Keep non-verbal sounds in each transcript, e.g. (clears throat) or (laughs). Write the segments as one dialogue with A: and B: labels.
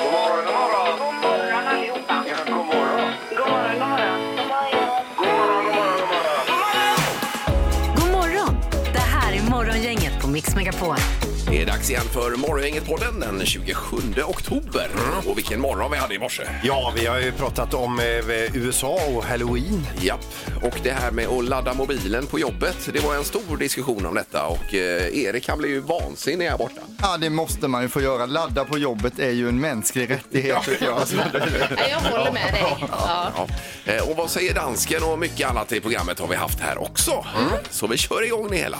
A: God morgon, god morgon. God morgon allihopa. Ja, god morgon. God morgon, god morgon. God morgon, god morgon, god morgon.
B: God morgon! Det här är Morgongänget på Mix Megapol.
C: Det är dags igen för Morgongänget-podden den 27 oktober. Och vilken morgon Mm. vi hade i morse.
D: Ja, vi har ju pratat om eh, USA och halloween.
C: Japp. Och det här med att ladda mobilen på jobbet, det var en stor diskussion om detta och eh, Erik han blev ju vansinnig här borta.
E: Ja, det måste man ju få göra. Ladda på jobbet är ju en mänsklig rättighet tycker jag.
D: alltså,
F: Nej, jag håller med dig. Ja.
C: Ja. Eh, Och vad säger dansken och mycket annat i programmet har vi haft här också. Så vi kör igång det hela.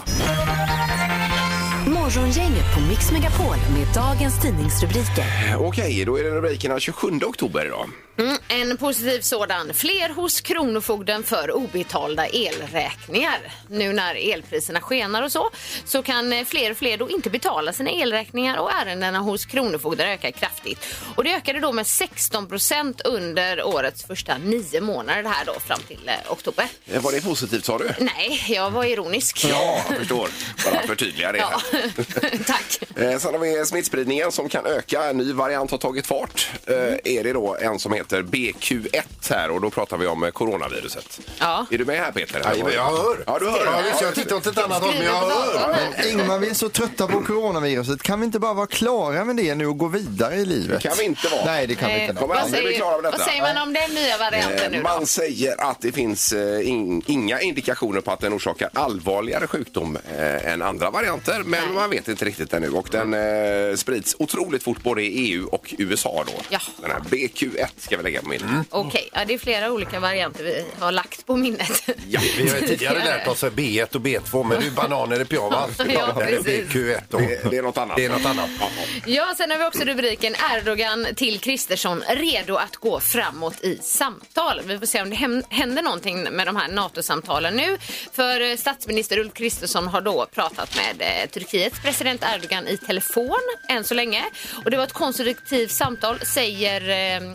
B: Morgongänget på Mix Megapol med dagens tidningsrubriker.
C: Eh, Okej, då är det rubrikerna 27 oktober idag.
F: Mm, en positiv sådan. Fler hos Kronofogden för obetalda elräkningar. Nu när elpriserna skenar och så, så kan eh, fler och fler då inte betala sina elräkningar och ärendena hos Kronofogden ökar kraftigt. Och det ökade då med 16 procent under årets första nio månader här då fram till eh, oktober.
C: Eh, Var det positivt sa du?
F: Nej, jag var ironisk.
C: Ja, jag förstår. Bara förtydliga det här.
F: (laughs) Ja. Tack.
C: Eh, Sen har vi smittspridningen som kan öka. En ny variant har tagit fart. Eh, Är det då en som heter BQ1 här och då pratar vi om eh, coronaviruset.
F: Ja.
C: Är du med här Peter?
D: Ja, jag hör.
C: Ja, du hör.
D: Ja, visst, jag tittar åt ett annat håll, men jag hör.
E: Men Ingmar, vi är så trötta på coronaviruset. Kan vi inte bara vara klara med det nu och gå vidare i livet?
C: Det kan vi inte vara.
E: Nej, det kan vi inte. Nej.
C: Kom igen.
F: Eh, Vad
C: aldrig bli
F: säger,
C: klara med detta.
F: vad säger man om den nya varianten nu
C: Eh,
F: då?
C: Man säger att det finns eh, in, inga indikationer på att den orsakar allvarligare sjukdom eh, än andra varianter, men man vet inte riktigt ännu. Och den eh, sprids otroligt fort både i EU och USA då.
F: Ja.
C: Den här BQ1 ska vi lägga på minnet.
D: Mm.
F: Okej, ja, det är flera olika varianter vi har lagt på minnet.
C: Ja.
D: Vi har ju tidigare lärt oss B1 och B2, men nu är bananer i pyjamas.
F: (laughs) Ja,
D: Eller
F: precis.
D: BQ1.
C: Det, det är något annat.
D: Det är något annat.
C: Ja.
F: Ja, sen har vi också rubriken Erdogan till Kristersson redo att gå framåt i samtal. Vi får se om det hem- händer någonting med de här NATO-samtalen nu. För eh, statsminister Ulf Kristersson har då pratat med eh, Turkiets president Erdogan i telefon än så länge. Och det var ett konstruktivt samtal, säger eh,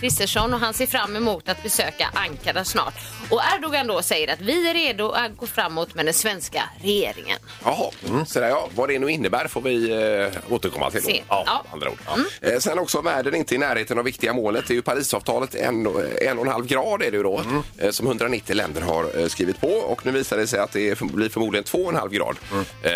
F: Kristersson och han ser fram emot att besöka Ankara snart. Och Erdogan då säger att vi är redo att gå framåt med den svenska regeringen.
C: Jaha, sådär ja. Vad det nu innebär får vi eh, återkomma till. då.
F: Mm. Se.
C: Ja,
F: Ja. Mm.
C: Andra ord. Eh, sen också världen inte i närheten av viktiga målet. Det är ju Parisavtalet, en, en och en halv grad är det ju då,
F: Mm.
C: eh, som 190 länder har eh, skrivit på. Och nu visar det sig att det är, blir förmodligen två och en halv grad eh,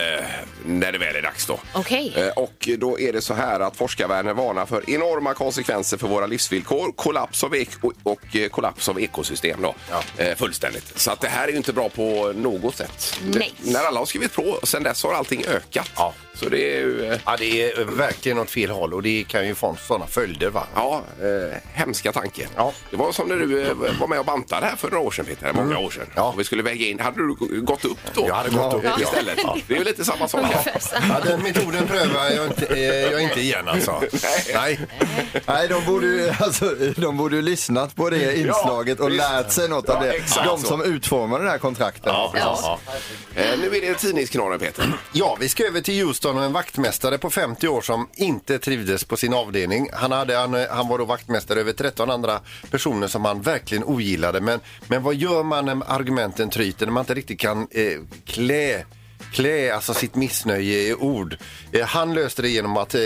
C: när det väl är dags då.
F: Mm. Okej.
C: Eh, Och då är det så här att forskarvärlden varnar för enorma konsekvenser för våra livsvillkor, kollaps av ek och, och eh, kollaps av ekosystem då. Eh, fullständigt. Så att det här är ju inte bra på något sätt.
F: Nej.
C: Det, när alla har skrivit på och sen dess har allting ökat.
D: Ja.
C: Så det är ju eh,
D: Ja, det är verkligen åt fel håll och det kan ju få sådana följder. Va?
C: ja, eh, hemska tanke.
D: Ja.
C: Det var som när du eh, var med och bantade här för några år sedan Peter, många år sedan.
D: Mm. Ja.
C: Och vi skulle väga in, hade du g- gått upp då?
D: Jag hade gått
C: Ja.
D: upp, ja.
C: istället.
D: Ja.
C: Det är ju lite samma sak här.
F: Ungefär samma.
D: Ja, den metoden prövar jag inte, eh, jag inte igen alltså. Nej.
E: Nej, de borde ju alltså, de borde ju lyssnat på det inslaget och
C: visst.
E: lärt sig något av
C: Ja,
E: det.
C: exakt
E: De
C: så.
E: som utformade det här kontraktet.
D: Ja.
C: Eh, nu är det tidningsknorren Peter.
D: Ja, vi ska över till Houston och en vaktmästare på 50 år som inte trivdes på sin avdelning. Han, hade, han, han var då vaktmästare över 13 andra personer som han verkligen ogillade. Men, men vad gör man när argumenten tryter, när man inte riktigt kan eh, klä klä alltså sitt missnöje i ord. Eh, han löste det genom att eh,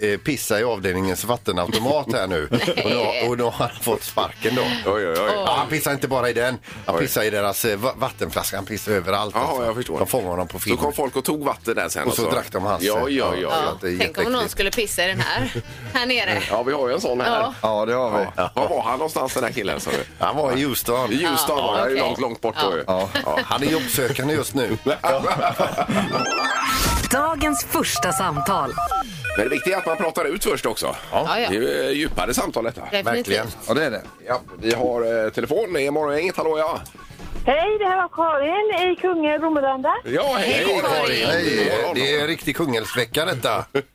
D: eh, pissa i avdelningens vattenautomat här nu. Och då, och då har han fått sparken då.
C: Oj, oj, oj.
D: Ja, han pissar inte bara i den, han pissar i deras eh, va- vattenflaska, han pissar överallt.
C: Ja, jag förstår.
D: De fångar honom på
C: Så
D: film.
C: kom folk och tog vatten där sen. alltså.
D: Och så drack de hans. eh,
C: Ja, ja, ja.
D: Ja.
C: ja.
F: Ja,
D: det är
F: tänk om någon
D: jätteäckligt.
F: skulle pissa i
D: (laughs)
F: den här, här nere.
C: Ja, vi har ju en sån här.
F: Ja.
E: Ja, det har vi.
C: Ja. Var var han någonstans den här killen sa du?
D: Han var i Houston.
C: I Ljusdal
F: Ja,
C: var han ju
F: okej.
C: långt, långt bort då ju.
E: Ja.
D: Ja, han är jobbsökande just
C: (laughs)
D: nu.
B: Dagens första samtal.
C: Men det viktiga är att man pratar ut först också.
F: Ja, ja.
C: Det är ju eh, djupare samtal detta.
F: Definitivt.
D: Verkligen.
E: Ja, det är det.
C: Ja, vi har eh, telefon. Det är Morgongänget. Hallå ja!
G: Hej, det här var Karin i Kungälv, Romelanda.
C: Ja, hej!
F: Hej, Karin.
D: Hej,
C: God morgon.
D: det är en riktig kungälvsvecka detta.
G: Jaj, (laughs)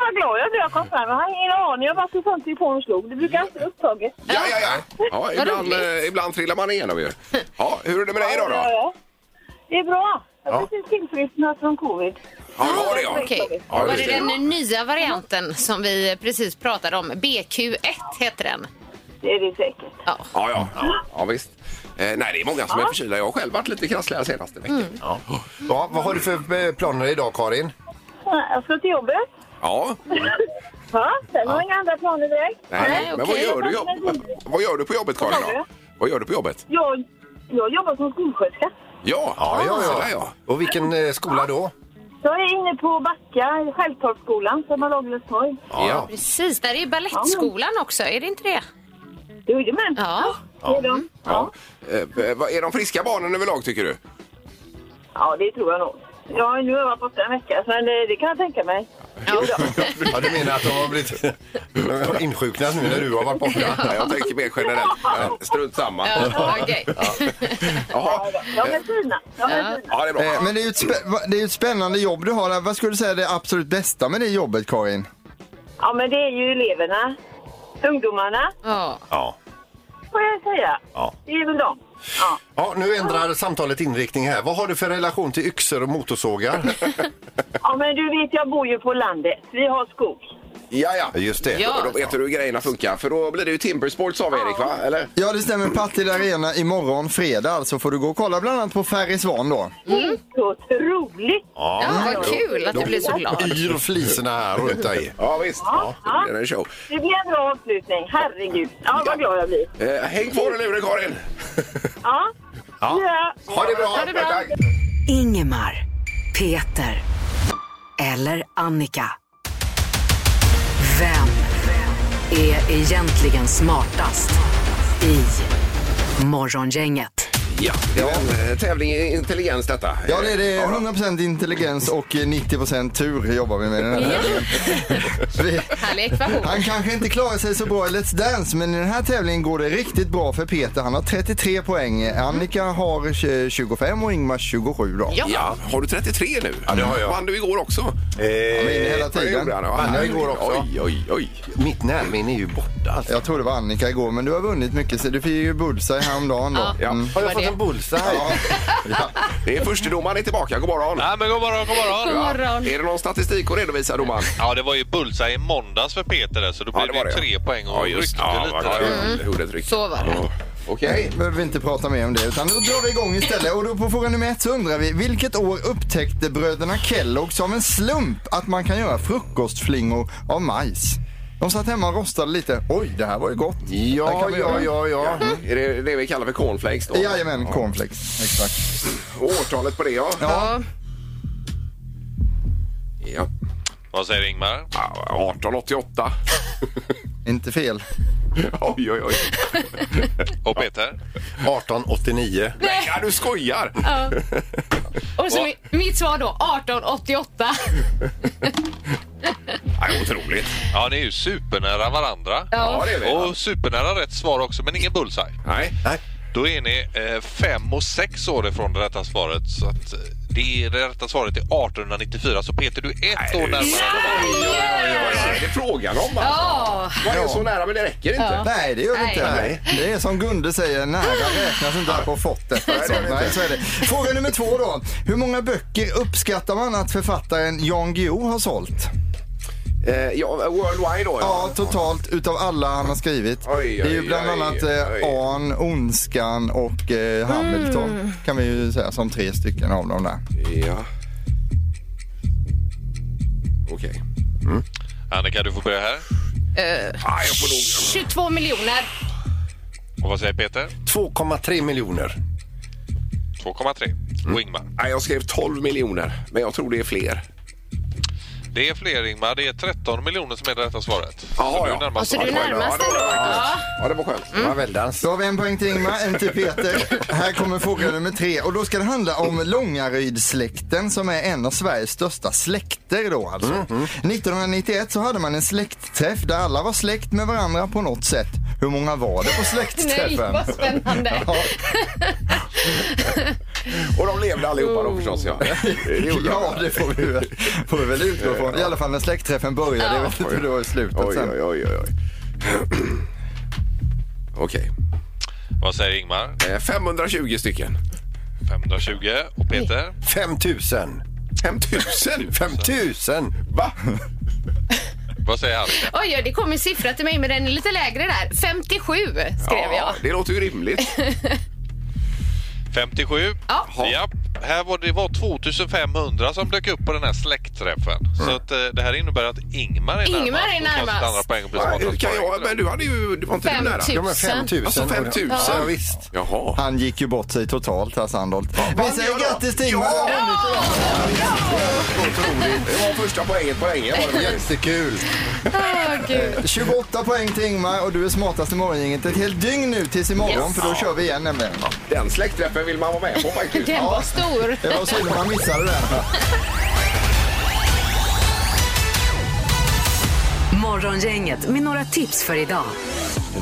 G: vad glad jag blev jag kom fram. Jag har ingen aning om varför sånt telefonen slog. Det brukar alltid vara upptaget.
C: Ja, ja, ja. ja
F: Vad
C: ibland,
F: roligt.
C: eh, ibland trillar man igenom ju. Ja, hur är det med dig idag då?
G: ja. Det är bra. Jag har
D: Ja.
G: precis tillfrisknat från covid.
C: Ja, det var det ja.
F: Okej.
C: Ja,
F: Var
C: just
F: det
C: det.
F: den nya varianten som vi precis pratade om? BQ1 heter den.
G: Det är det säkert.
F: Ja.
C: Ja, ja. ja, ja visst. Eh, nej, det är många som är förkylda. Jag har själv varit lite krasslig här senaste veckan.
F: Mm.
C: Ja.
D: Ja, vad har du för eh, planer idag Karin?
G: Jag ska till jobbet. (laughs)
C: ja. eh,
G: Ja, sen har jag inga andra planer direkt.
C: Nej,
F: Nej,
C: men
F: okej.
C: vad, gör du, jobb... vad gör du på jobbet, Karin? Då? Vad gör du på jobbet?
G: Jag, jag jobbar som skolsköterska.
C: Ja, så där, ja.
D: Och vilken eh, skola då?
G: Jag är inne på Backa, Självtorpsskolan, som har Lagerlöfs torg.
C: Ja.
F: Precis, där är Balettskolan också, är det inte det?
G: Jajamän.
F: Ja.
G: Det är de.
C: Ja. Eh, vad- är de friska barnen överlag, tycker du?
G: Ja, det tror jag nog. Jag har nu övat borta en vecka, men det, det kan jag tänka mig.
D: Ja, du menar att de har blivit de
C: (laughs)
D: har insjuknat nu när du har varit borta?
C: Ja, jag tänker mer generellt. Eh, Strunt samma.
F: Ja, okej.
C: Jaha.
G: De är fina. De är fina.
C: Ja, det är bra.
E: Eh, Men det är, ju ett spä- va- det är ju ett spännande jobb du har där. Vad skulle du säga är det absolut bästa med det jobbet Karin?
G: Ja, men det är ju eleverna. Ungdomarna,
F: Ja.
D: Ja.
G: får jag säga.
D: Ja.
G: Det är väl de. Ja.
D: ja, nu ändrar samtalet inriktning här. Vad har du för relation till yxor och motorsågar?
G: ja, men du vet, jag bor ju på landet. Vi har skog.
C: Ja, ja.
D: Just det.
F: Ja.
C: Och då vet du hur grejerna funkar. För då blir det ju Timbersports av Erik, va? Eller?
E: Ja det stämmer, Partille Arena imorgon fredag så får du gå och kolla bland annat på Ferry Svan då.
G: Så otroligt!
F: ja, vad kul att du blev så glad.
D: Yr flisorna här runt dig.
C: Ja, visst. Ja. Det är en show.
G: Det blir en bra avslutning. Herregud. Ja, vad glad jag blir.
C: Eh, häng kvar i luren, Karin!
G: Ja.
D: Ja. Ha det bra!
F: Ha det bra.
D: Tack.
B: Ingemar, Peter eller Annika. Vem är egentligen smartast i Morgongänget?
C: Ja, det var en eh, tävling i intelligens detta.
E: Ja det är det,
C: Ja, då.
E: 100% intelligens och eh, 90% tur jobbar vi med den här tävlingen. Vi-
F: Härlig ekvation.
E: Han kanske inte klarar sig så bra i Let's Dance men i den här tävlingen går det riktigt bra för Peter. Han har 33 poäng, Annika har tj- 25 och Ingmar 27 då.
F: Ja.
C: Ja, har du 33 nu?
D: Ja, det har jag.
C: Vann du igår också?
E: Han var
D: Eh,
E: inne hela
C: Vad
E: tiden.
C: gjorde han då?
D: Vann jag igår också.
C: Oj, oj, oj.
D: mitt närminne är ju borta. Alltså.
E: Jag tror det var Annika igår men du har vunnit mycket så du fick ju bullseye häromdagen då. Mm.
C: Ja.
D: Har jag
F: Vad
D: fått
F: är det?
D: en bullseye?
C: Det är förstedomaren är tillbaka. God morgon.
H: Ja, men god morgon, god morgon.
F: God morgon.
C: Är det någon statistik att redovisa, domaren?
H: Ja, det var ju bullseye i måndags för Peter där, så då blev det, ju tre poäng och ryckte
C: ja,
H: lite.
C: vad
H: där.
C: kul.
F: Mm.
C: Det gjorde ett ryck.
F: Så var det.
C: Ja. Okej.
E: behöver vi inte prata mer om det utan då drar vi igång istället. Och då på fråga nummer ett så undrar vi vilket år upptäckte bröderna Kellogg som en slump att man kan göra frukostflingor av majs? De satt hemma och rostade lite. Oj, det här var ju gott. Det här
D: Ja,
E: kan vi
D: ja,
E: göra.
D: ja, ja. Mm.
C: Är det det vi kallar för cornflakes då?
E: Jajamän, cornflakes. Exakt.
C: Och årtalet på det, ja.
F: Ja.
C: ja.
H: Vad säger Ingmar?
C: Ja, 1888.
E: Inte fel.
C: (laughs) oj, oj, oj.
H: Och Peter?
D: 1889.
C: Nej, ja, du skojar!
F: Och så mi- mitt svar då, 1888.
C: Nej, otroligt.
H: Ja, ni är ju supernära varandra.
C: Ja, det är vi.
H: Och supernära rätt svar också, men ingen bullseye.
C: Nej.
D: Nej.
H: Då är ni eh, fem och sex år ifrån det rätta svaret. Så att eh, det, är det rätta svaret är 1894. Så Peter, du är ett
C: Nej,
H: år
C: du-
H: närmare.
C: Vad är det frågan om? alltså?
F: Ja.
C: Vad är så nära, men det räcker inte.
E: Nej, det gör det
F: Nej.
E: inte. Det är som Gunde säger, nära räknas inte att ha fått det.
C: det gör det inte.
E: alltså. Nej, så är det. Fråga nummer två då. Hur många böcker uppskattar man att författaren Jan Guillou har sålt?
C: Eh, ja, worldwide då?
E: Ja, totalt utav alla han har skrivit.
C: Oj,
E: det är
C: oj,
E: ju bland
C: oj,
E: annat
C: oj.
E: eh, Arn, Ondskan och eh, Hamilton. Kan vi ju säga som tre stycken av dem där.
C: Ja. Okej.
H: Annika, du får börja här.
C: Ah, jag får nog...
F: 22 miljoner.
H: Och vad säger Peter?
D: 2,3 miljoner.
C: Mm.
H: 2,3. Och Ingmar?
C: Nej, Ah, jag skrev 12 miljoner, men jag tror det är fler.
H: Det är fler Ingmar. Det är 13 miljoner som är det rätta svaret.
C: Jaha,
H: så du
C: ja.
H: är närmast.
F: så du är
H: svaret.
F: närmast ändå.
C: Ja, det var skönt.
D: Det var väldans.
E: Då har vi en poäng till Ingmar, en till Peter. Här kommer fråga nummer tre. Och då ska det handla om Långaryd-släkten som är en av Sveriges största släkter då alltså.
C: Mm,
E: 1991 så hade man en släktträff där alla var släkt med varandra på något sätt. Hur många var det på
F: Nej,
E: släktträffen?
F: vad spännande.
E: (laughs) Ja,
C: Och de levde allihopa
F: Mm.
C: då förstås,
F: (laughs)
C: ja. Det gjorde
E: ja,
C: de.
E: det får vi, väl- får vi väl utgå från. I alla fall när släktträffen började. Jag vet inte hur det var i slutet
C: Oj,
E: sen.
C: oj, oj, oj. (clears throat) oj. Okej.
H: Vad säger Ingmar?
C: Eh, 520 stycken.
H: 520. Och Peter?
D: 5000.
C: 5000?
D: 5000? Va?
H: Vad säger han?
F: Oj, ja, det kom en siffra till mig, men den är lite lägre där. 57 skrev jag.
C: Det låter ju rimligt.
F: (laughs)
H: 57.
F: Ja.
H: Japp. Här var det var 2500 som dök upp på den här släktträffen.
C: Mm.
H: Så att, eh, det här innebär att Ingmar är
F: Ingmar
H: närmast. och
F: är
H: tar sitt
F: närmast.
H: Andra poäng och blir
C: Va,
H: smartast
C: kan
H: på
C: jag,
H: det.
C: men du hade ju... Det var inte du nära.
F: 5000.
D: Ja, men 5000.
C: Alltså 5000.
D: Ja, visst.
C: Jaha.
E: Han gick ju bort sig totalt, Hasse Sandholt. Vi
C: gör
E: säger
C: då?
E: grattis till Ingmar!
C: Otroligt. Det var första poängen på länge. Var det
D: Jättekul.
F: Åh, gud.
E: 28 poäng till Ingmar och du är smartast i morgongänget ett helt dygn nu tills imorgon
F: Yes.
E: för då kör vi igen nämligen.
C: Den släktträffen vill man vara med på faktiskt.
F: Den var stor.
E: Det var synd att man missade den.
B: Morgongänget med några tips för idag.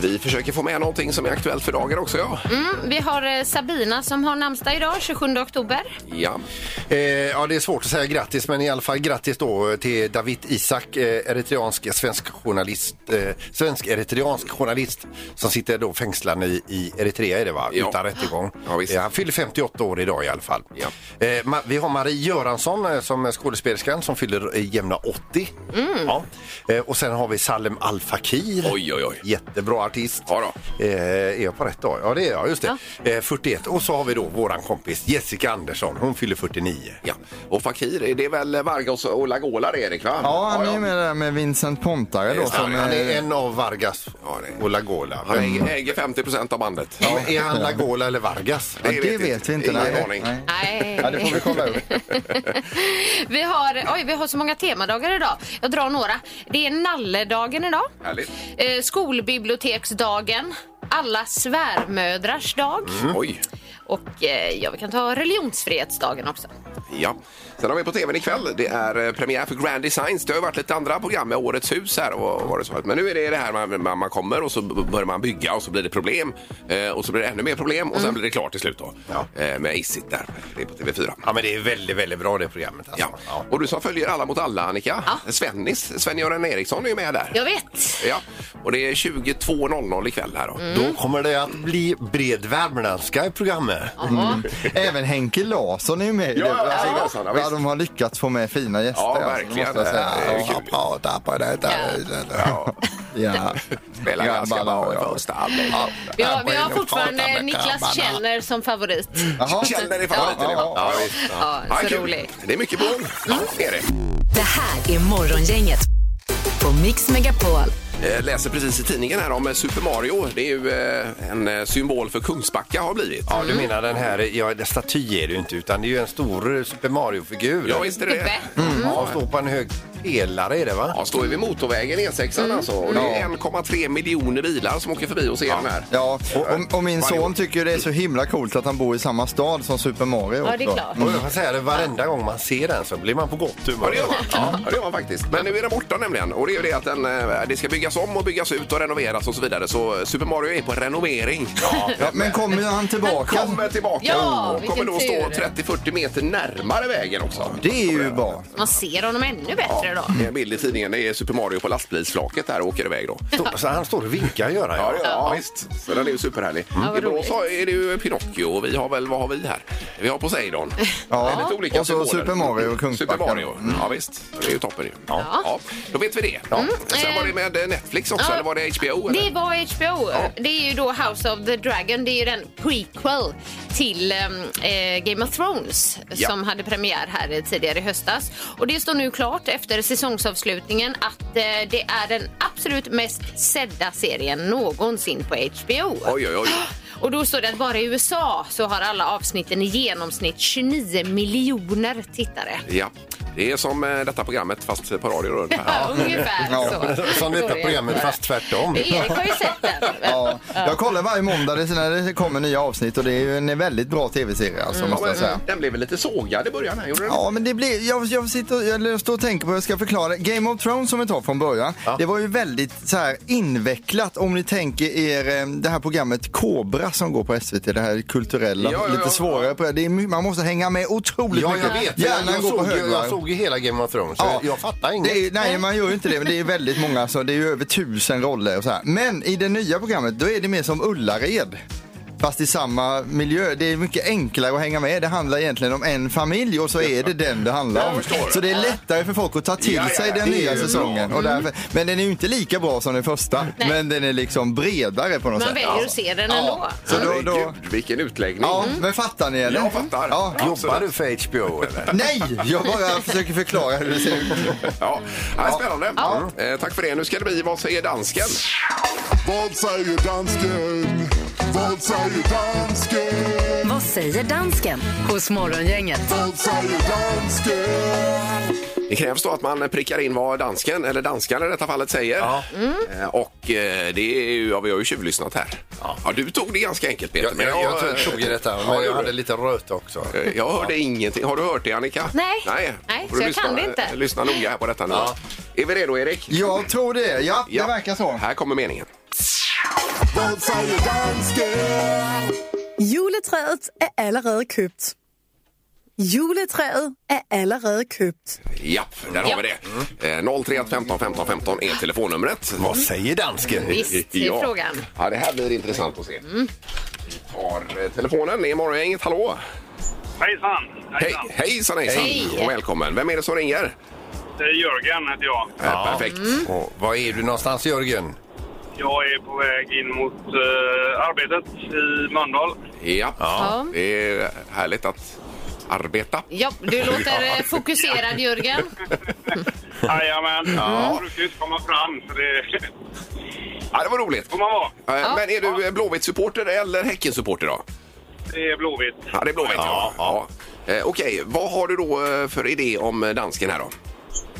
C: Vi försöker få med någonting som är aktuellt för dagen också. Ja.
F: Mm, vi har eh, Sabina som har namnsdag idag, 27 oktober.
C: ja.
D: Eh, ja, det är svårt att säga grattis, men i alla fall grattis då till David Isak, eh, eritreansk svensk journalist, eh, svensk-eritreansk journalist som sitter då fängslad i, i Eritrea är det va?
C: Ja.
D: Utan rättegång.
C: Ja, visst.
D: Eh, han fyller 58 år idag i alla fall.
C: Ja.
D: Eh, ma- vi har Marie Göransson eh, som är skådespelerskan som fyller eh, jämna 80. Ja. Eh, och sen har vi Salem Al Fakir.
C: Mm. Oj, oj, oj.
D: Jättebra artist.
C: Ja då.
D: Eh, är jag på rätt dag? Ja, det är jag. Just det. Eh, 41. Och så har vi då våran kompis Jessica Andersson. Hon fyller 49.
C: Ja. Och Fakir, är det är väl Vargas och Lagola det, Erik? Va?
E: Ja, han är ju med där med Vincent Pontare då
C: Just det,
E: som
D: Han är
E: eh,
D: en av Vargas
C: Ja, det är-
D: och Lagola.
C: Han äger- äger 50 procent av bandet.
D: Ja, men är han Lagola eller Vargas?
E: Ja, det vet vi inte.
C: Ingen
E: nej.
C: aning.
E: Nej.
F: Nej.
D: Ja, det får vi kolla
C: (laughs)
D: upp.
F: Vi har, oj, vi har så många temadagar idag. Jag drar några. Det är nalledagen idag.
C: Härligt.
F: Eh, skolbiblioteksdagen. Alla svärmödrars dag.
C: Oj.
F: Och eh, ja, vi kan ta religionsfrihetsdagen också.
C: Ja. Sen har vi på tvn ikväll, det är eh, premiär för Grand Designs. Det har ju varit lite andra program med Årets hus här och var det så. Men nu är det det här man, man, man kommer och så b- börjar man bygga och så blir det problem. Eh, och så blir det ännu mer problem och sen blir det klart till slut då. Eh, med Isit där. Det är på TV4.
D: Ja, men det är väldigt, väldigt bra det programmet. Alltså.
C: Ja.
D: Ja.
C: Och du som följer Alla mot alla, Annika.
F: Ja.
C: Svennis, Sven-Göran Eriksson är ju med där.
F: Jag vet.
C: Ja. Och det är 22.00 ikväll här då.
E: Mm.
D: Då kommer det att bli bred värmländska i programmet.
F: Jaha.
E: Även Henke Larsson är ju med i
C: Ja,
E: det.
C: ja, Jajamensan, ja,
E: ja,
C: visst.
E: de har lyckats få med fina gäster.
C: Ja,
E: alltså, det
C: verkligen.
E: måste jag säga.
C: Det är ju kul.
D: Prata på detta
C: Ja.
E: Ja.
C: Spelar
E: Ja,
C: ganska
E: balla,
C: bra i
E: ja.
C: första halvlek.
F: Vi har, vi har
D: Prata
F: fortfarande
D: med
F: Niklas
D: grabbarna.
F: Källner som favorit.
E: Jaha.
C: Känner i favorit.
E: Ja, ja,
C: Ja, visst.
F: Ja,
C: Ja,
F: så
C: kul.
F: rolig. Mm.
C: Det är mycket på gång. Ja, det är det.
B: Det här är Morgongänget på Mix Megapol.
C: Eh, läser precis i tidningen här om eh, Super Mario. Det är ju eh, en eh, symbol för Kungsbacka har blivit.
D: Ja, du menar den här, ja, det staty är det ju inte, utan det är ju en stor eh, Super Mario-figur. Mm.
C: Ja, visst är det det.
F: Gubbe.
E: Mm.
D: Ja, står på en hög pelare är det va?
C: Ja, står ju vid motorvägen E6 alltså.
F: Mm.
C: Och det är 1,3 miljoner bilar som åker förbi och ser den här.
E: Ja, och, och min son tycker det är så himla coolt att han bor i samma stad som Super Mario.
F: Ja, det är
E: också.
F: klart.
D: Och jag kan säga det, varenda gång man ser den så blir man på gott humör.
C: Ja, det gör man. Ja, det gör man faktiskt. Men nu är den borta nämligen. Och det är ju det att den, eh, det ska byggas om och byggas ut och renoveras och så vidare. Så eh, Super Mario är på renovering.
E: Ja, men kommer han tillbaka?
C: Kommer tillbaka
F: Ja,
C: och kommer
F: vilken
C: då stå
F: tur.
C: 30-40 meter närmare vägen också.
E: Det är ju bra.
F: Man ser honom ännu bättre då.
C: Det är en bild i tidningen. Det är Super Mario på lastbilsflaket där och åker iväg då.
D: Stå- Så han står och vinkar gör han.
C: Ja,
D: Ja.
C: ja, ja, visst. Så den är ju superhärlig. I
F: vad
C: Borås
F: roligt.
C: har- är det ju Pinocchio och vi har väl, vad har vi här? Vi har Poseidon.
E: Ja.
C: Väldigt olika
E: Och så
C: symboler.
E: Super Mario och Mm. Kungsbacka.
C: Super Mario, ja visst. Det är ju toppen ju. Ja.
F: Ja.
C: Ja. Då vet vi det. Mm. Sen var det med Netflix också,
F: Ja.
C: eller var det HBO? Eller?
F: Det var HBO. Det är ju då House of the Dragon. Det är ju den prequel till ehm, eh, Game of Thrones
C: Ja.
F: som hade premiär här eh, tidigare i höstas. Och det står nu klart efter säsongsavslutningen att eh, det är den absolut mest sedda serien någonsin på HBO.
C: Oj, oj, oj.
F: Och då står det att bara i USA så har alla avsnitten i genomsnitt 29 miljoner tittare.
C: Ja. Det är som eh, detta programmet fast på radio. Då.
F: Ja, ungefär så.
D: (laughs) Som detta
F: Står det.
D: programmet fast tvärtom.
F: Erik har ju sett den.
E: Ja, jag kollar varje måndag det- när det kommer nya avsnitt och det är ju en väldigt bra tv-serie alltså, måste
F: Mm.
E: jag säga.
C: Den blev väl lite sågad i början här, gjorde den?
E: Ja, men det blir, jag, jag, sitter, och- jag står och tänker på hur jag ska förklara. Game of Thrones som vi tar från början, det var ju väldigt så här, invecklat om ni tänker er eh, det här programmet Kobra som går på SVT, det här kulturella,
C: Ja, ja, ja.
E: lite svårare. På det. Det är, my- man måste hänga med otroligt
D: Ja,
E: mycket.
D: jag vet. Jag,
E: Hjärnan
D: jag,
E: går på
D: såg, ju- jag
E: högvarv.
D: såg ju hela Game of Thrones. så
E: Ja.
D: Jag, jag fattar inget.
E: Det är, nej, man gör ju inte det, men det är väldigt många, så det är ju över tusen roller och så här. Men i det nya programmet, då är det mer som Ullared. fast i samma miljö. Det är mycket enklare att hänga med. Det handlar egentligen om en familj och så är det den det handlar om.
I: Jag förstår.
E: Så det är lättare för folk att ta till
I: Ja, ja,
E: sig den
I: det är
E: nya
I: ju
E: säsongen.
I: bra.
E: Och därför, men den är ju inte lika bra som den första.
F: Mm. Nej.
E: Men den är liksom bredare på något
F: Man
E: sätt.
F: väljer att se den ändå.
E: Så då, då...
C: Vilken utläggning.
E: Ja, men fattar ni eller?
C: Jag fattar.
E: Ja.
C: Jobbar du
D: för HBO eller?
E: Nej, jag bara försöker förklara hur det ser ut.
C: Ja,
D: Mm.
C: ja spännande. Eh, tack för det. Nu ska det bli Vad säger dansken? Vad säger dansken? Vad säger dansken?
B: Vad säger dansken hos Morgongänget?
C: Det krävs då att man prickar in vad dansken, eller danskan i detta fallet, säger. Eh, Och eh, det är ju, ja, vi har ju tjuvlyssnat här. Ja. du tog det ganska enkelt Peter.
D: Jag, men jag, jag, tog ju detta, men jag hade lite röt också.
C: Eh, Jag hörde ingenting. Har du hört det Annika?
F: Nej.
C: Nej,
F: Nej,
C: Får
F: så
C: du
F: jag kan det inte.
C: Lyssna noga här på detta nu. Är vi redo Erik?
E: Jag tror det. Ja, det verkar så.
C: Här kommer meningen.
I: Vad säger dansken?
J: Juletræet er allerede købt. Juletræet er allerede købt.
C: Ja, där har
J: Ja.
C: vi det. Eh, 031 15 15 15 är telefonnumret. Vad
D: säger dansken?
F: Visst, det är frågan.
C: (laughs) Ja, det här blir intressant att se. Vi tar eh, telefonen. Det är Morgongänget. Hallå!
K: Hejsan! Hejsan!
C: Hej, hejsan, hejsan!
K: Hej.
C: Och välkommen. Vem är det som ringer?
K: Det är Jörgen heter jag.
C: Ja. Perfekt.
D: Och var är du någonstans Jörgen?
K: Jag är på väg in mot eh, arbetet i Mölndal.
C: Ja.
F: Ja.
C: det är härligt att arbeta.
F: Ja, du låter eh, fokuserad Jörgen.
K: (laughs) Jajamän,
C: Ja.
K: jag brukar ju inte komma fram. Så det...
C: Ja, det var roligt.
K: får man vara.
C: Eh, Men är du eh, Blåvitt-supporter eller Häcken-supporter då?
K: Det är Blåvitt.
C: Ja, det är Blåvitt. Ja. Ja. Eh, Okej, vad har du då eh, för idé om eh, dansken här då?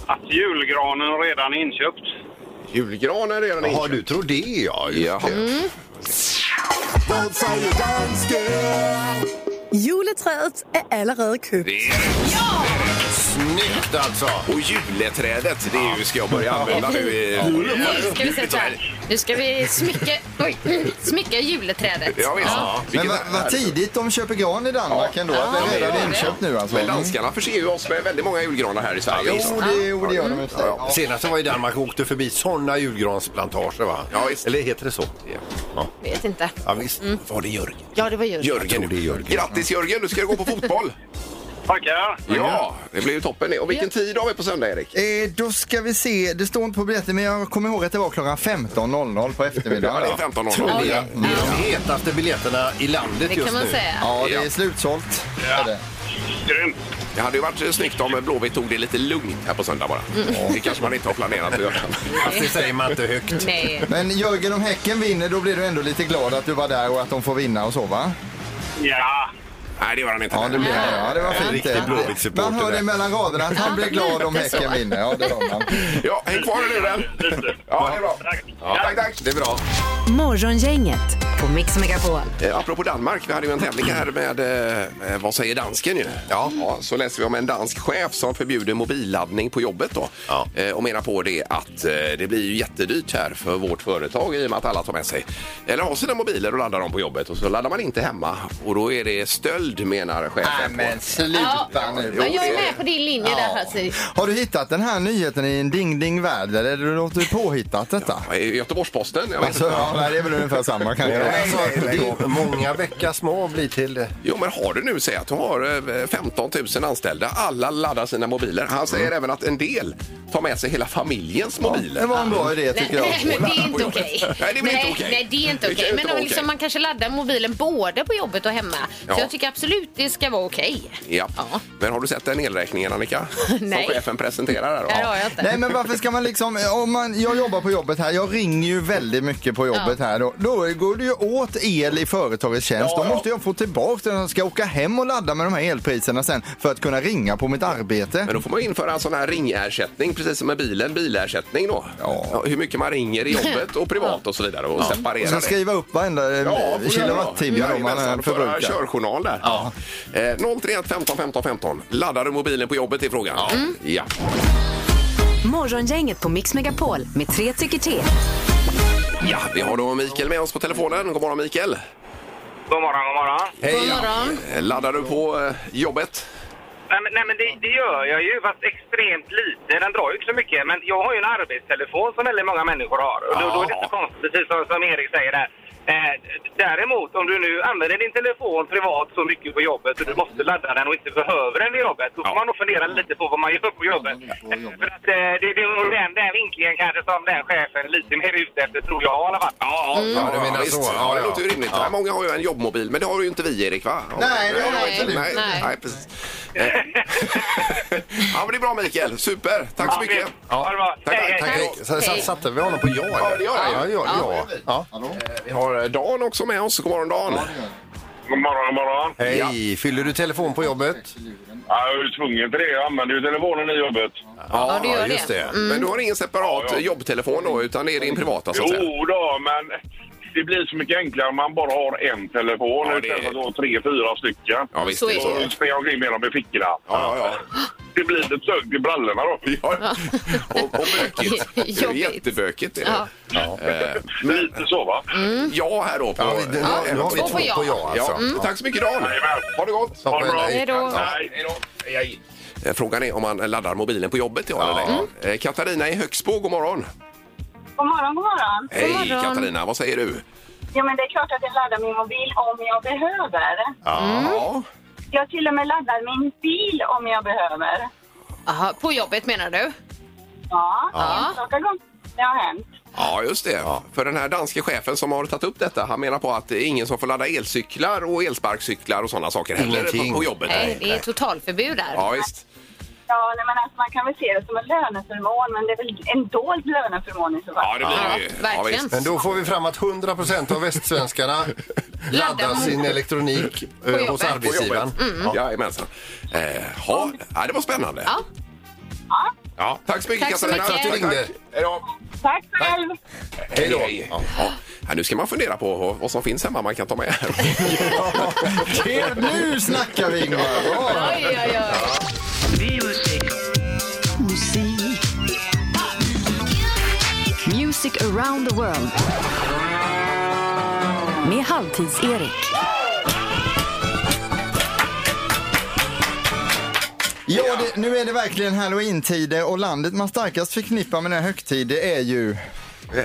K: Att julgranen redan är inköpt.
C: Julgranen är redan
D: Jaha, du tror det ja. Just det.
I: Vad säger dansken?
J: Juletræet er allerede købt.
D: Snyggt alltså!
C: Och juleträdet, det är ju, ska jag börja använda nu i...
F: Nu ska vi sätta Nu ska vi smycka, oj, smycka juleträdet.
C: Ja, visst.
E: Men
C: Vilket
E: vad
C: är-
E: vad tidigt de köper gran i Danmark ändå.
C: Ja,
E: Det är
C: det är
E: redan
C: det.
E: inköpt nu alltså. Mm.
C: Men danskarna förser ju oss med väldigt många julgranar här i Sverige.
D: Jo,
C: också.
D: det-
E: Jo, det gör de inte.
D: Ja. Senast jag var i Danmark och åkte förbi sådana julgransplantager va? Ja, Eller heter det så? Ja,
F: Vet inte.
D: ja visst. Var det Jörgen?
F: Ja, det var Jörgen.
C: Jörgen. Grattis Jörgen, du ska gå på (laughs) fotboll.
K: Tackar.
C: Ja, det blir ju toppen. det. Och vilken tid har vi på söndag Erik?
E: Eh, då ska vi se, det står inte på biljetten men jag kommer ihåg att det var klockan 15.00 på eftermiddagen.
C: Ja, det är 15.00.
E: Tror jag.
C: Ja,
D: Det är de hetaste biljetterna i landet
C: Det kan
D: just
C: man
D: nu.
C: säga.
E: Ja, det
C: Ja.
E: är slutsålt. Är det.
K: Grymt.
C: Det hade ju varit snyggt om Blåvitt tog det lite lugnt här på söndag bara. Det kanske man inte har planerat att göra.
D: Fast det säger man inte högt.
C: (laughs)
F: Nej.
E: Men Jörgen, om Häcken vinner då blir du ändå lite glad att du var där och att de får vinna och så va?
K: Ja.
C: Nej, det var han inte.
E: Ja, det blir han. Ja, det var fint. det. Man hör det
C: där.
E: mellan raderna att
C: (laughs)
E: han blir glad om Häcken vinner. Ja, det var man.
C: Ja, häng kvar i luren. Ja, det är bra. Ja, tack, tack. Det är bra.
B: Morgongänget på Mix Megapol.
C: Eh, apropå Danmark, vi hade ju en tävling här med eh, eh, Vad säger dansken ju? Ja.
E: Mm.
C: så läser vi om en dansk chef som förbjuder mobilladdning på jobbet då. Eh, och menar på det att eh, det blir ju jättedyrt här för vårt företag i och med att alla tar med sig eller har sina mobiler och laddar dem på jobbet och så laddar man inte hemma och då är det stöld menar chefen. Nej men
E: sluta nu.
F: Ja, jag är med på din linje där alltså. Hasse.
E: Har du hittat den här nyheten i en ding ding värld eller du låter du påhittat detta?
C: Eh, Göteborgsposten, jag vet
E: Alltså,
C: inte.
E: ja, nej, det är väl ungefär samma kanske.
D: Nej, nej,
E: Det är-
D: nej. Många bäckar små blir till...
C: Jo, men har du nu, säg att du har eh, 15 000 anställda. Alla laddar sina mobiler. Han säger även att en del tar med sig hela familjens mobiler.
E: Mm. det var en bra idé,
F: Nej, nej, men det är inte okej.
C: (laughs) Nej, det är väl inte okej.
F: Nej, det är inte
C: Det kan
F: okej.
C: ju
F: Men
C: inte vara
F: liksom,
C: okej.
F: man kanske laddar mobilen både på jobbet och hemma.
C: Ja.
F: Så jag tycker absolut det ska vara okej.
C: Ja. Men har du sett den elräkningen, Annika?
F: Nej.
C: Som chefen presenterar här då?
F: Där har jag inte.
E: Nej men varför ska man liksom, om man, jag jobbar på jobbet här, jag ringer ju väldigt mycket på jobbet här då. Då går det ju åt el i företagets tjänst. då måste jag få tillbaka den, jag ska åka hem och ladda med de här elpriserna sen för att kunna ringa på mitt arbete.
C: Men då får man införa en sån här ringersättning, precis som med bilen, bilersättning då. Ja. Hur mycket man ringer i jobbet och privat och så vidare och
E: Och
C: separera
E: så
C: det.
E: skriva upp varenda eh,
C: får du
E: kilowattimme
C: göra.
E: då man
C: Jajamensan,
E: eh,
C: du får göra en
E: förbrukar.
C: körjournal där. Eh, 031 15 15 15. Laddar du mobilen på jobbet i frågan? Ja. ja.
B: Morgongänget på Mix Megapol med tre tycker till.
C: Ja, vi har då Mikael med oss på telefonen. God morgon Mikael!
K: God morgon, god morgon.
C: Hej! Eh, Laddar du på eh, jobbet?
K: Nej, men, nej, men det, det gör jag ju, fast extremt lite. Den drar ju inte så mycket. Men jag har ju en arbetstelefon som väldigt många människor har. Och då, då är det inte konstigt, precis som, som Erik säger där. Eh, Däremot om du nu använder din telefon privat så mycket på jobbet och du måste ladda den och inte behöver den i jobbet, då får man nog fundera lite på vad man gör på jobbet. För att, eh, det, det är nog den där vinklingen kanske som den chefen är lite mer ute efter, tror jag i alla fall.
C: Ja, ja, du menar
D: så.
C: Ja, det låter ju rimligt. Nej, Många har ju en jobbmobil, men det har ju inte vi, Erik, va?
K: Nej, det har
C: nej,
K: inte du.
C: Nej, nej.
K: Nej.
C: precis. Eh. (laughs) ja, men det är bra, Mikael. Super. Tack så mycket.
D: Ja.
C: Tack,
D: Tack,
C: tack,
D: tack.
C: tack.
D: Så- så- Satte vi honom på ja? eller?
C: Ja, det gör jag.
D: Ja, det gör
C: Ja.
D: det, ja. ja.
C: eh, Vi har Dan också med oss. God morgon, Dan.
L: God morgon, god morgon.
D: Hej! Fyller du telefon på jobbet?
L: Ja, jag är ju tvungen till det. Jag använder ju telefonen i jobbet.
C: Ja, du gör just det. det. Mm. Men du har ingen separat
L: ja.
C: jobbtelefon då, utan det är din privata, så att säga?
L: Jo då, men det blir så mycket enklare om man bara har en telefon istället för att ha tre, fyra stycken.
C: Ja, visst, Så det är är det. det.
L: Och springa omkring med dem i fickorna.
C: Ja, ja,
L: Det blir lite sökt i brallorna då.
C: Ja, (laughs) och, och bökigt. Det är
L: Jobbigt.
C: jättebökigt. Är det.
L: Ja.
C: Eh,
L: Lite så, va?
C: Ja, här då. På,
D: Ja, vi- nu har- nu har vi
C: Ja,
D: två på ja, alltså. Mm.
C: Tack så mycket, Dan. Ha det gott.
D: Ha det bra. Hej då.
C: Ja, hej då. Hej, hej. Eh, Frågan är om man laddar mobilen på jobbet. Ja. eller nej. Eh, Katarina i Högsbo, god morgon.
G: God morgon, god morgon.
C: Hej Katarina, vad säger du?
G: Ja, men det är klart att jag laddar min mobil om jag behöver.
C: Ja.
G: Jag till och med laddar min bil om jag behöver.
F: Aha, på jobbet menar du?
G: Ja,
C: Ja.
G: enstaka gånger det har hänt.
C: Ja, just det. För den här danske chefen som har tagit upp detta, han menar på att det är ingen som får ladda elcyklar och elsparkcyklar och sådana saker heller
D: Ingenting.
C: på, på jobbet.
F: Nej, det är totalförbud där.
C: Ja, visst.
G: Ja, nej, men alltså, man kan väl se det som en löneförmån, men det är väl en dold löneförmån i så fall.
D: visst. Men då får vi fram att 100 av västsvenskarna laddar sin elektronik eh, hos arbetsgivaren.
C: Mm. Ja. Jajamensan. Eh, ha. ja, det var spännande.
F: Ja.
C: Ja, tack så mycket
F: Tack så
C: Katarina.
F: mycket. Tack för att du
C: Tack. Hej då.
G: Tack själv!
C: Hej då. Ja. Ja, nu ska man fundera på vad som finns hemma man kan
E: (laughs)
C: ta med. Eh,
E: Det- Nu snackar vi Ingmar! Ja.
F: Oj, oj, oj.
B: Musik. Music around the world. Med Halvtids-Erik.
E: Ja, det, nu är det verkligen halloween-tider och landet man starkast förknippar med den här högtid det är ju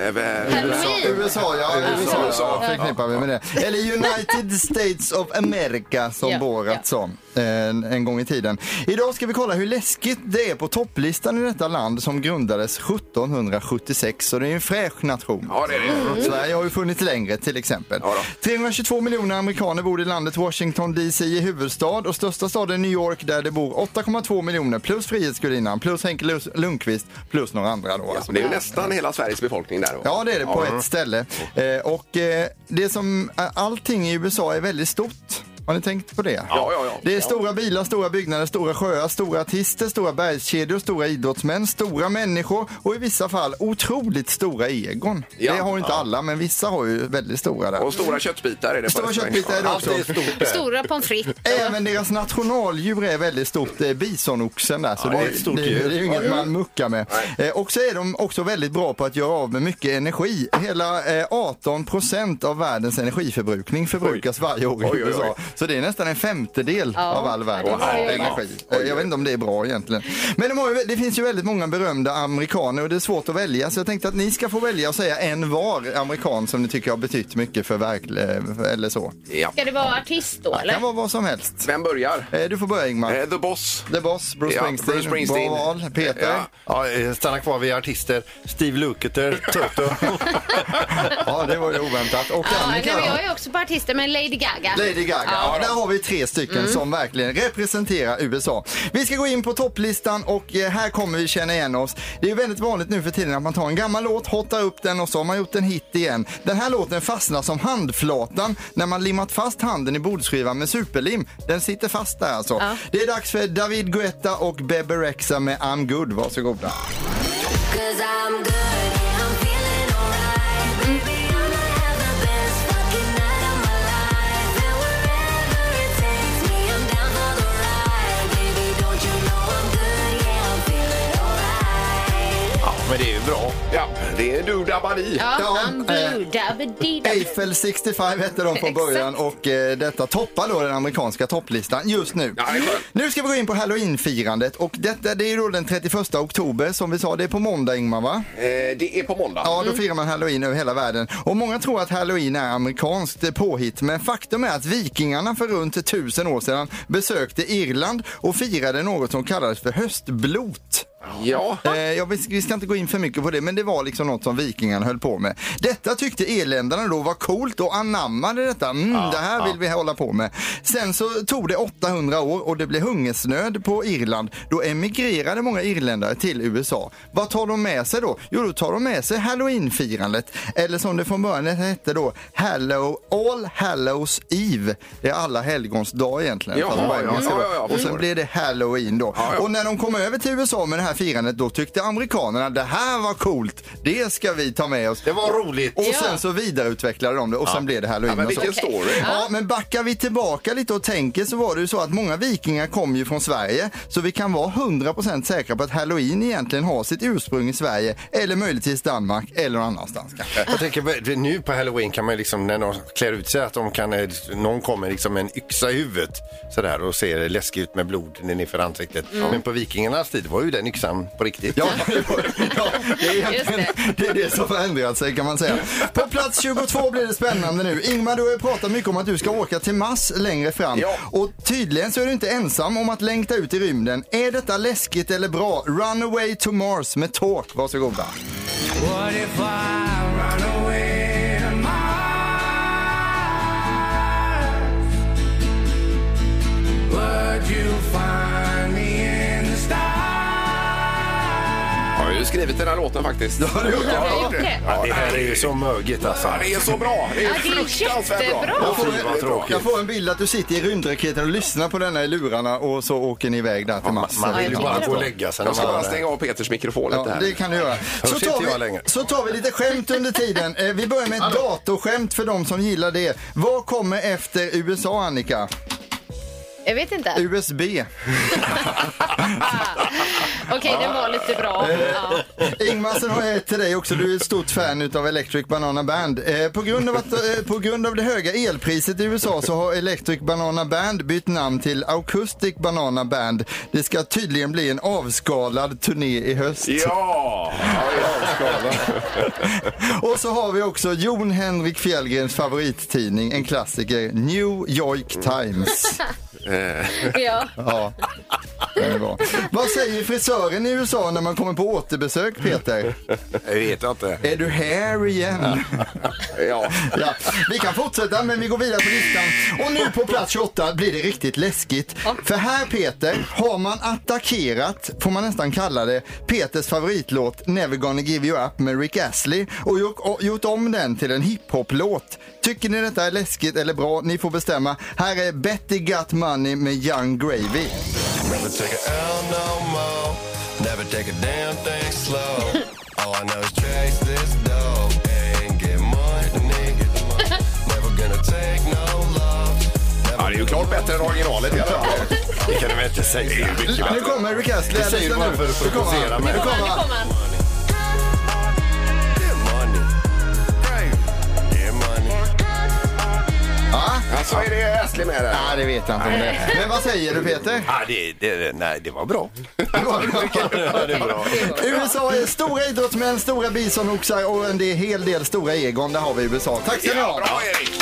E: USA, USA, ja, USA,
C: USA.
E: förknippar vi med det. Eller United States of America som
I: Ja,
E: Borat sa eh, en, en gång i tiden. Idag ska vi kolla hur läskigt det är på topplistan i detta land som grundades 1776 så det är ju en fräsch nation.
C: Ja, det är det. Mm.
E: Sverige har ju funnits längre till exempel. 322 miljoner amerikaner bor i landet Washington DC i huvudstad och största staden är New York där det bor 8,2 miljoner plus Frihetsgudinnan plus Henke Lus- Lundqvist plus några andra då. alltså.
C: Ja, Alltså, det är ju nästan hela Sveriges befolkning där. då.
E: Ja, det är det på
C: Mm.
E: ett ställe. Eh, och eh, det som, eh, allting i USA är väldigt stort. Har ni tänkt på det?
C: Ja, ja, ja.
E: Det är stora bilar, stora byggnader, stora sjöar, stora artister, stora bergskedjor, stora idrottsmän, stora människor och i vissa fall otroligt stora egon.
C: Ja.
E: det har ju inte
C: Ja.
E: alla, men vissa har ju väldigt stora där.
C: Och stora köttbitar är det. på
E: Stora
C: restaurang.
E: köttbitar är det också.
C: Allt stort.
F: Stora pommes frites.
E: Även deras nationaldjur är väldigt stort, det är bisonoxen där. Så
C: Ja,
E: det,
C: det
E: är
C: är ett stort
E: det, det, är
C: djur.
E: ju inget
C: Ja,
E: man muckar med. Eh, och så är de också väldigt bra på att göra av med mycket energi. Hela eh, 18 procent av världens energiförbrukning förbrukas varje år
C: Oj,
E: i
C: oj, oj.
E: USA. Så det är nästan en femtedel
I: Ja,
E: av all världens
I: det var ju-
E: energi. Eh, Jag vet inte om det är bra egentligen. Men de har ju, det finns ju väldigt många berömda amerikaner och det är svårt att välja. Så jag tänkte att ni ska få välja och säga en var amerikan som ni tycker har betytt mycket för verkligen, eller så.
C: Ja.
F: Ska det vara artist då
E: Det
F: eller?
E: kan vara vad som helst.
C: Vem börjar?
E: Eh, Du får börja Ingmar.
C: The Boss.
E: The Boss, Bruce
D: Ja,
E: Springsteen.
D: Bruce Springsteen.
E: Bra val. Peter.
D: Ja. Ja, eh, stanna kvar vid artister. Steve Lukather, Toto. (laughs)
E: ja, det var ju oväntat. Och
F: Ja, nej,
E: Annika
F: men
E: då?
F: jag är också på artister men Lady Gaga.
E: Lady Gaga. Ja, där har vi tre stycken
F: Mm.
E: som verkligen representerar USA. Vi ska gå in på topplistan och eh, här kommer vi känna igen oss. Det är ju väldigt vanligt nu för tiden att man tar en gammal låt, hottar upp den och så har man gjort en hit igen. Den här låten fastnar som handflatan när man limmat fast handen i bordsskivan med superlim. Den sitter fast där alltså.
I: Ja.
E: Det är dags för David Guetta och Bebe Rexha med I'm good. Varsågoda.
F: Mm.
D: Ja, men
C: men det är ju bra. Ja, det är du Dabadi.
F: Ja, han
E: eh,
F: blue
E: Eiffel 65 hette de från
F: Exakt.
E: början och eh, detta toppar då den amerikanska topplistan just nu. Nu ska vi gå in på halloweenfirandet och detta det är ju då den 31 oktober som vi sa, det är på måndag Ingmar va?
C: Eh, det är på måndag.
E: Ja, då firar man halloween över hela världen. Och många tror att halloween är amerikanskt påhitt, men faktum är att vikingarna för runt tusen år sedan besökte Irland och firade något som kallades för höstblot.
C: Ja.
E: Eh, ja, vi, vi ska inte gå in för mycket på det, men det var liksom något som vikingarna höll på med. Detta tyckte irländarna då var coolt och anammade detta. Mm,
I: Ja,
E: det här
I: ja.
E: vill vi hålla på med. Sen så tog det 800 år och det blev hungersnöd på Irland. Då emigrerade många irländare till USA. Vad tar de med sig då? Jo, då tar de med sig halloweenfirandet. Eller som det från början hette då, Hallow, All Hallows Eve. Det är alla helgons dag egentligen.
C: Jaha,
E: fast det var
C: ja,
E: engelska
C: ja,
E: då.
C: ja, ja,
E: och sen
C: förstår.
E: blev det halloween då. Och när de kom över till USA med det här firandet då tyckte amerikanerna det här var coolt. Det ska vi ta med oss. Det
D: var roligt.
E: Och
D: Ja.
E: sen så vidareutvecklade de det och
D: Ja.
E: sen blev det halloween.
D: Ja, men
E: och så.
D: vilken story.
E: Ja, men backar vi tillbaka lite och tänker så var det ju så att många vikingar kom ju från Sverige så vi kan vara 100% säkra på att halloween egentligen har sitt ursprung i Sverige eller möjligtvis Danmark eller någon annanstans kanske.
D: Jag tänker på- nu på halloween kan man ju liksom när de klär ut sig att de kan, eh, någon kommer liksom med en yxa i huvudet sådär och ser läskig ut med blod nerför ansiktet.
E: Mm.
D: Men på vikingarnas tid var ju den yxan på riktigt.
E: (laughs) Ja, det är egentligen det. är det som har ändrat sig kan man säga. På plats 22 blir det spännande nu. Ingmar, du har ju pratat mycket om att du ska åka till Mars längre fram. Och tydligen så är du inte ensam om att längta ut i rymden. Är detta läskigt eller bra? Runaway to Mars med Talk. Varsågoda.
I: What if I run away to Mars? Would you find me in the stars?
C: Jag har ju skrivit den här låten faktiskt. Ja,
D: det har
I: du. Ja, det har du.
D: Ja, det här är ju så mögigt alltså.
C: Ja, det är så bra. Det är Ja, det är fruktansvärt bra. jättebra.
E: Jag
D: Fy, vad
E: får,
D: tråkigt.
E: jag får en bild att du sitter i rymdraketen och lyssnar på denna i lurarna och så åker ni iväg där till Mars.
D: man vill ju bara gå och lägga sig när
C: Jag ska
D: man
C: bara
D: hör det.
C: stänga av Peters mikrofon
E: Ja,
C: lite här.
E: det kan du göra. Så
C: Hörs inte jag
E: tar, vi,
C: längre.
E: så tar vi lite skämt under tiden. Eh, Vi börjar med ett datorskämt för de som gillar det. Vad kommer efter USA, Annika?
F: Jag vet inte.
E: USB.
F: Okej, den var lite bra. Ja.
E: Ingmar, sen har jag ett till dig också. Du är ett stort fan utav Electric Banana Band. Eh, På grund, av att, eh, på grund av det höga elpriset i USA så har Electric Banana Band bytt namn till Acoustic Banana Band. Det ska tydligen bli en avskalad turné i höst.
C: Ja!
E: Och så har vi också Jon Henrik Fjällgrens favorittidning, en klassiker, New York Times.
F: ja.
E: Ja, det är bra. Vad säger frisören i USA när man kommer på återbesök, Peter?
D: Jag vet inte.
E: Är du här igen?
C: Ja.
E: (laughs) ja. Vi kan fortsätta, men vi går vidare på listan. Och nu på plats 28 blir det riktigt läskigt. För här, Peter, har man attackerat, får man nästan kalla det, Peters favoritlåt Never gonna give you up med Rick Astley och gjort- och gjort om den till en hiphop-låt. Tycker ni detta är läskigt eller bra? Ni får bestämma. Här är Betty Got Money med Young Gravy.
I: Never take a L no more. Never take a damn thing slow. All I know is chase this dough and get money. Never gonna take no love.
C: Ja, det är ju klart bättre än originalet. Ja.
D: Det kan du väl inte säga? Det är mycket
E: Nu
D: bättre.
E: kommer Rick Astley.
D: Det säger du
E: Lyssna
D: bara
E: nu.
D: för att
E: Nu kommer han.
D: provocera
E: Nu
D: mig.
E: kommer han. Ja.
C: Alltså, är det Astley med där?
E: Nej, det vet jag inte om det är. Men vad säger du, Peter?
D: Ja, det, det, nej, det var bra. (laughs) Ja, det är bra.
E: USA är stora idrottsmän, stora bisonoxar och en del- hel del stora egon. Där har vi USA. Tack ska ni
C: Ja,
E: ha.
C: bra Erik!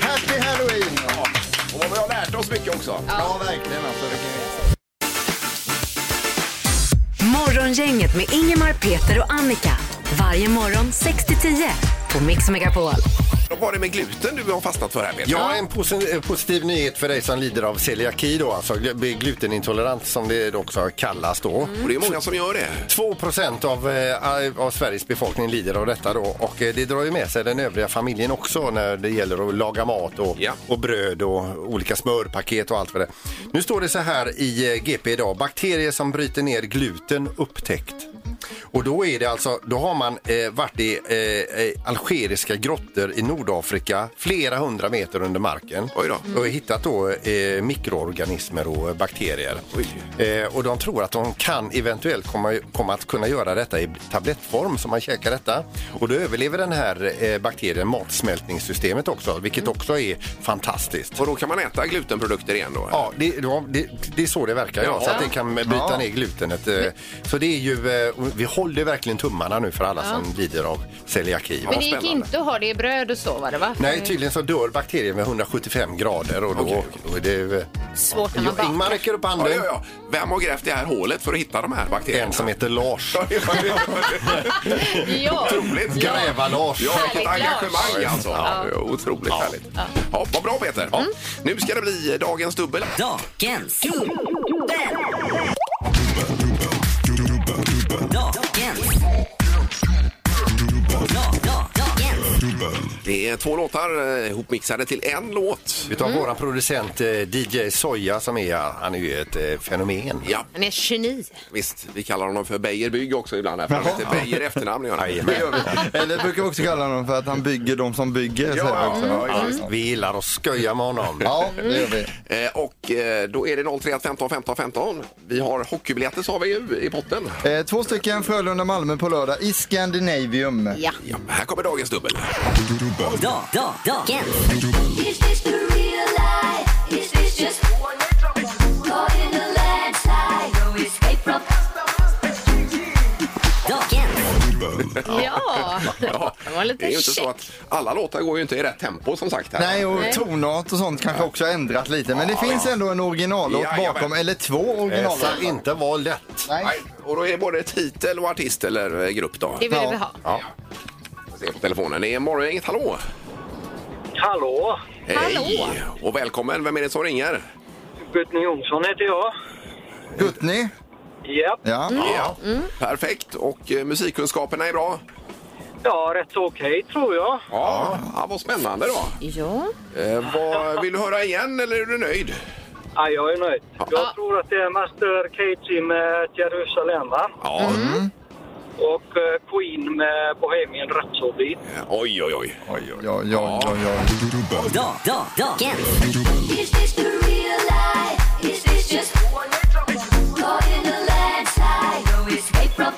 E: Happy Halloween!
C: Ja. Och vad vi har lärt oss mycket också.
E: Ja, verkligen. Alltså,
B: Morgongänget med Ingemar, Peter och Annika. Varje morgon 6 till 10 på Mix Megapol.
C: Då var det med gluten du har fastnat för här Peter.
D: Ja, en posi- eh, positiv nyhet för dig som lider av celiaki då, alltså gl- glutenintolerans som det också kallas då.
C: Och det är många som gör det.
D: 2 av, eh, av Sveriges befolkning lider av detta då och eh, det drar ju med sig den övriga familjen också när det gäller att laga mat och, och bröd och olika smörpaket och allt vad det är. Nu står det så här i eh, GP idag, bakterier som bryter ner gluten upptäckt. Och då är det alltså, då har man eh, varit i eh, eh, algeriska grottor i Nordafrika flera hundra meter under marken.
C: Oj då.
D: Och hittat då eh, mikroorganismer och bakterier. Eh, och de tror att de kan eventuellt komma, komma att kunna göra detta i tablettform som man käkar detta. Och då överlever den här eh, bakterien matsmältningssystemet också, vilket
C: Mm.
D: också är fantastiskt.
C: Och då kan man äta glutenprodukter igen då?
D: Ja, det, ja, det, det är så det verkar. Ja.
C: Ja.
D: Så att det kan bryta
C: Ja.
D: ner glutenet. eh. Så det är ju, eh, vi håller verkligen tummarna nu för alla
F: Ja.
D: som lider av celiaki.
F: Men det gick inte att ha det i bröd och så var det va?
D: Nej, tydligen så dör bakterien vid 175 grader och då, då är det...
F: Svårt när man
D: Jo, Ingmar räcker upp handen.
C: Ja, ja, ja. Vem har grävt det här hålet för att hitta de här bakterierna? (laughs)
D: En som heter Lars.
F: Ja.
C: Otroligt.
F: Ja.
D: Gräva-Lars.
C: Ja, vilket
F: Härligt, Lars.
C: engagemang alltså.
F: Ja. Mm.
C: Ja. Otroligt härligt. Ja. vad bra Peter. Ja. Nu ska det bli eh, dagens dubbel. Dagens Det är två låtar eh, ihopmixade till en låt.
D: Vi tar våran producent eh, DJ Soja som är, han är ju ett eh, fenomen.
C: Ja,
F: Han är geni.
C: visst. Vi kallar honom för Beijer Bygg också ibland. Här, för han
E: Jaha.
C: heter Beijer i efternamn. gör han.
D: Jajamän.
E: Eller brukar vi också kalla honom för att han bygger de som bygger. säger jag också.
D: Vi gillar att skoja med honom.
E: Ja, det gör vi.
C: Eh, Och eh, då är det 031 15 15 15. Vi har hockeybiljetter sa vi ju i potten.
E: Eh, Två stycken Frölunda-Malmö på lördag i Scandinavium.
F: Ja.
C: Här kommer dagens dubbel.
A: Is this the real life? Is this just caught in a landslide? No escape from.
F: Ja.
C: Ja,
F: (laughs) Det var lite
C: det är ju inte så
F: käck.
C: att alla låtar går ju inte i rätt tempo som sagt. Här.
E: Nej, och
F: Nej.
E: tonart och sånt kanske också har ändrat lite. Men det
C: Ja,
E: finns ändå en originallåt
C: Jajamän.
E: bakom, eller två
D: Dessa
E: originallåtar.
D: inte var lätt.
E: Nej.
C: Nej, och då är det både titel och artist eller eh, grupp då.
F: Det vill
E: Ja.
F: vi ha.
C: Ja. Jag ser på telefonen. Det är Morgongänget, hallå!
K: Hallå!
F: Hallå.
C: Och välkommen, vem är det som ringer?
K: Gutny Jonsson heter jag.
E: Guttny?
K: Japp.
E: Ja.
C: Ja. Perfekt, och eh, musikkunskaperna är bra?
K: Ja, rätt så okej tror jag.
C: Ja. ja, vad spännande då.
F: Ja.
C: Eh, vad, vill du höra igen eller är du nöjd?
K: Ja, jag är nöjd.
F: Ja.
K: Jag tror att det är Master KG med Jerusalem va?
C: Ja.
F: Mm.
K: och eh, Queen med Bohemian Rhapsody.
C: Oj, oj, oj.
E: Ja, ja, ja, ja.
A: Is this the real life? Is this just caught in a landslide? No escape from.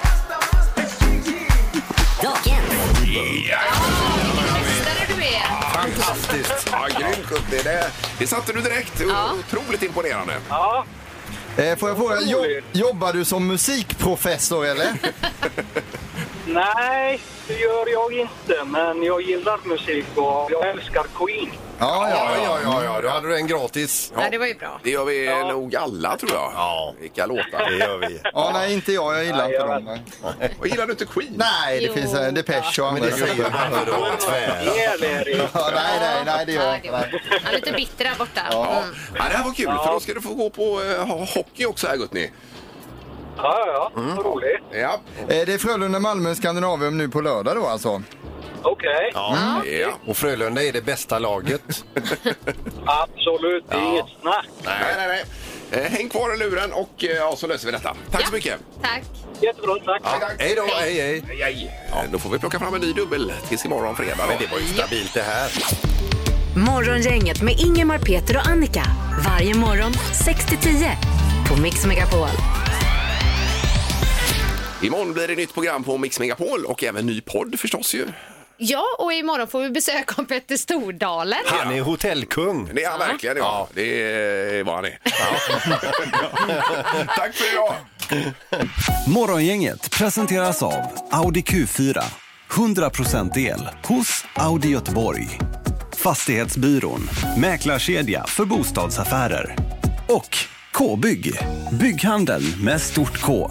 F: Mästare du är.
D: Fantastiskt.
C: Ja, grymt Gutti. Det, det satte du direkt. Det var
F: Ja.
C: Otroligt imponerande.
K: Ja,
E: Eh, får jag fråga, jobb, jobbar du som musikprofessor eller?
K: nej, det gör jag inte, men jag gillar musik och jag älskar Queen.
E: Ja,
D: Ja, ja, ja, ja, då hade du en gratis.
F: Ja, det var ju bra.
C: Det gör vi nog alla tror jag.
D: Ja, det
C: Vilka låtar.
D: gör vi.
E: Ja, nej, inte jag. Jag gillar
K: Nej,
E: inte
K: jag
E: dem. nej.
C: Och gillar du inte Queen?
E: Nej, det
F: Jo.
E: finns eh, Depeche och
D: Men
E: andra
D: det säger
E: grupper.
D: man för då, tvär.
K: Ihjäl er, Erik.
E: (laughs) Ja, nej, nej, nej, det gör jag inte. nej.
F: Han är lite bitter där borta. Mm.
C: Ja, det här var kul, för då ska du få gå på eh, ha- hockey också här Gutni.
K: Ja, ja,
D: Mm.
K: ja. Vad roligt.
C: Ja.
E: Eh, Det är Frölunda-Malmö Skandinavium nu på lördag då alltså.
K: Okej,
D: Ja.
C: ja.
D: Och Frölunda är det bästa laget.
K: absolut. Det är inget snack.
C: Nej, nej, nej. Eh, Häng kvar i luren och eh, ja, så löser vi detta. Tack
F: Ja.
C: så mycket.
F: Tack.
K: Jättebra, tack.
D: Hej då, hej, hej.
C: Hej, hej. Ja, då får vi plocka fram en ny dubbel tills imorgon fredag.
D: Men det var ju stabilt det här.
B: Morgongänget med Ingemar, Peter och Annika. Varje morgon 6 till 10 på Mix Megapol.
C: Imorgon blir det nytt program på Mix Megapol och även ny podd förstås ju.
F: Ja, och imorgon får vi besök av Petter Stordalen.
D: Han är hotellkung.
C: Det är han verkligen, ja. Det är vad han är. (laughs) Tack för idag!
M: Morgongänget presenteras av Audi Q4. 100% el hos Audi Göteborg. Fastighetsbyrån, mäklarkedja för bostadsaffärer. Och K-bygg, bygghandeln med stort K.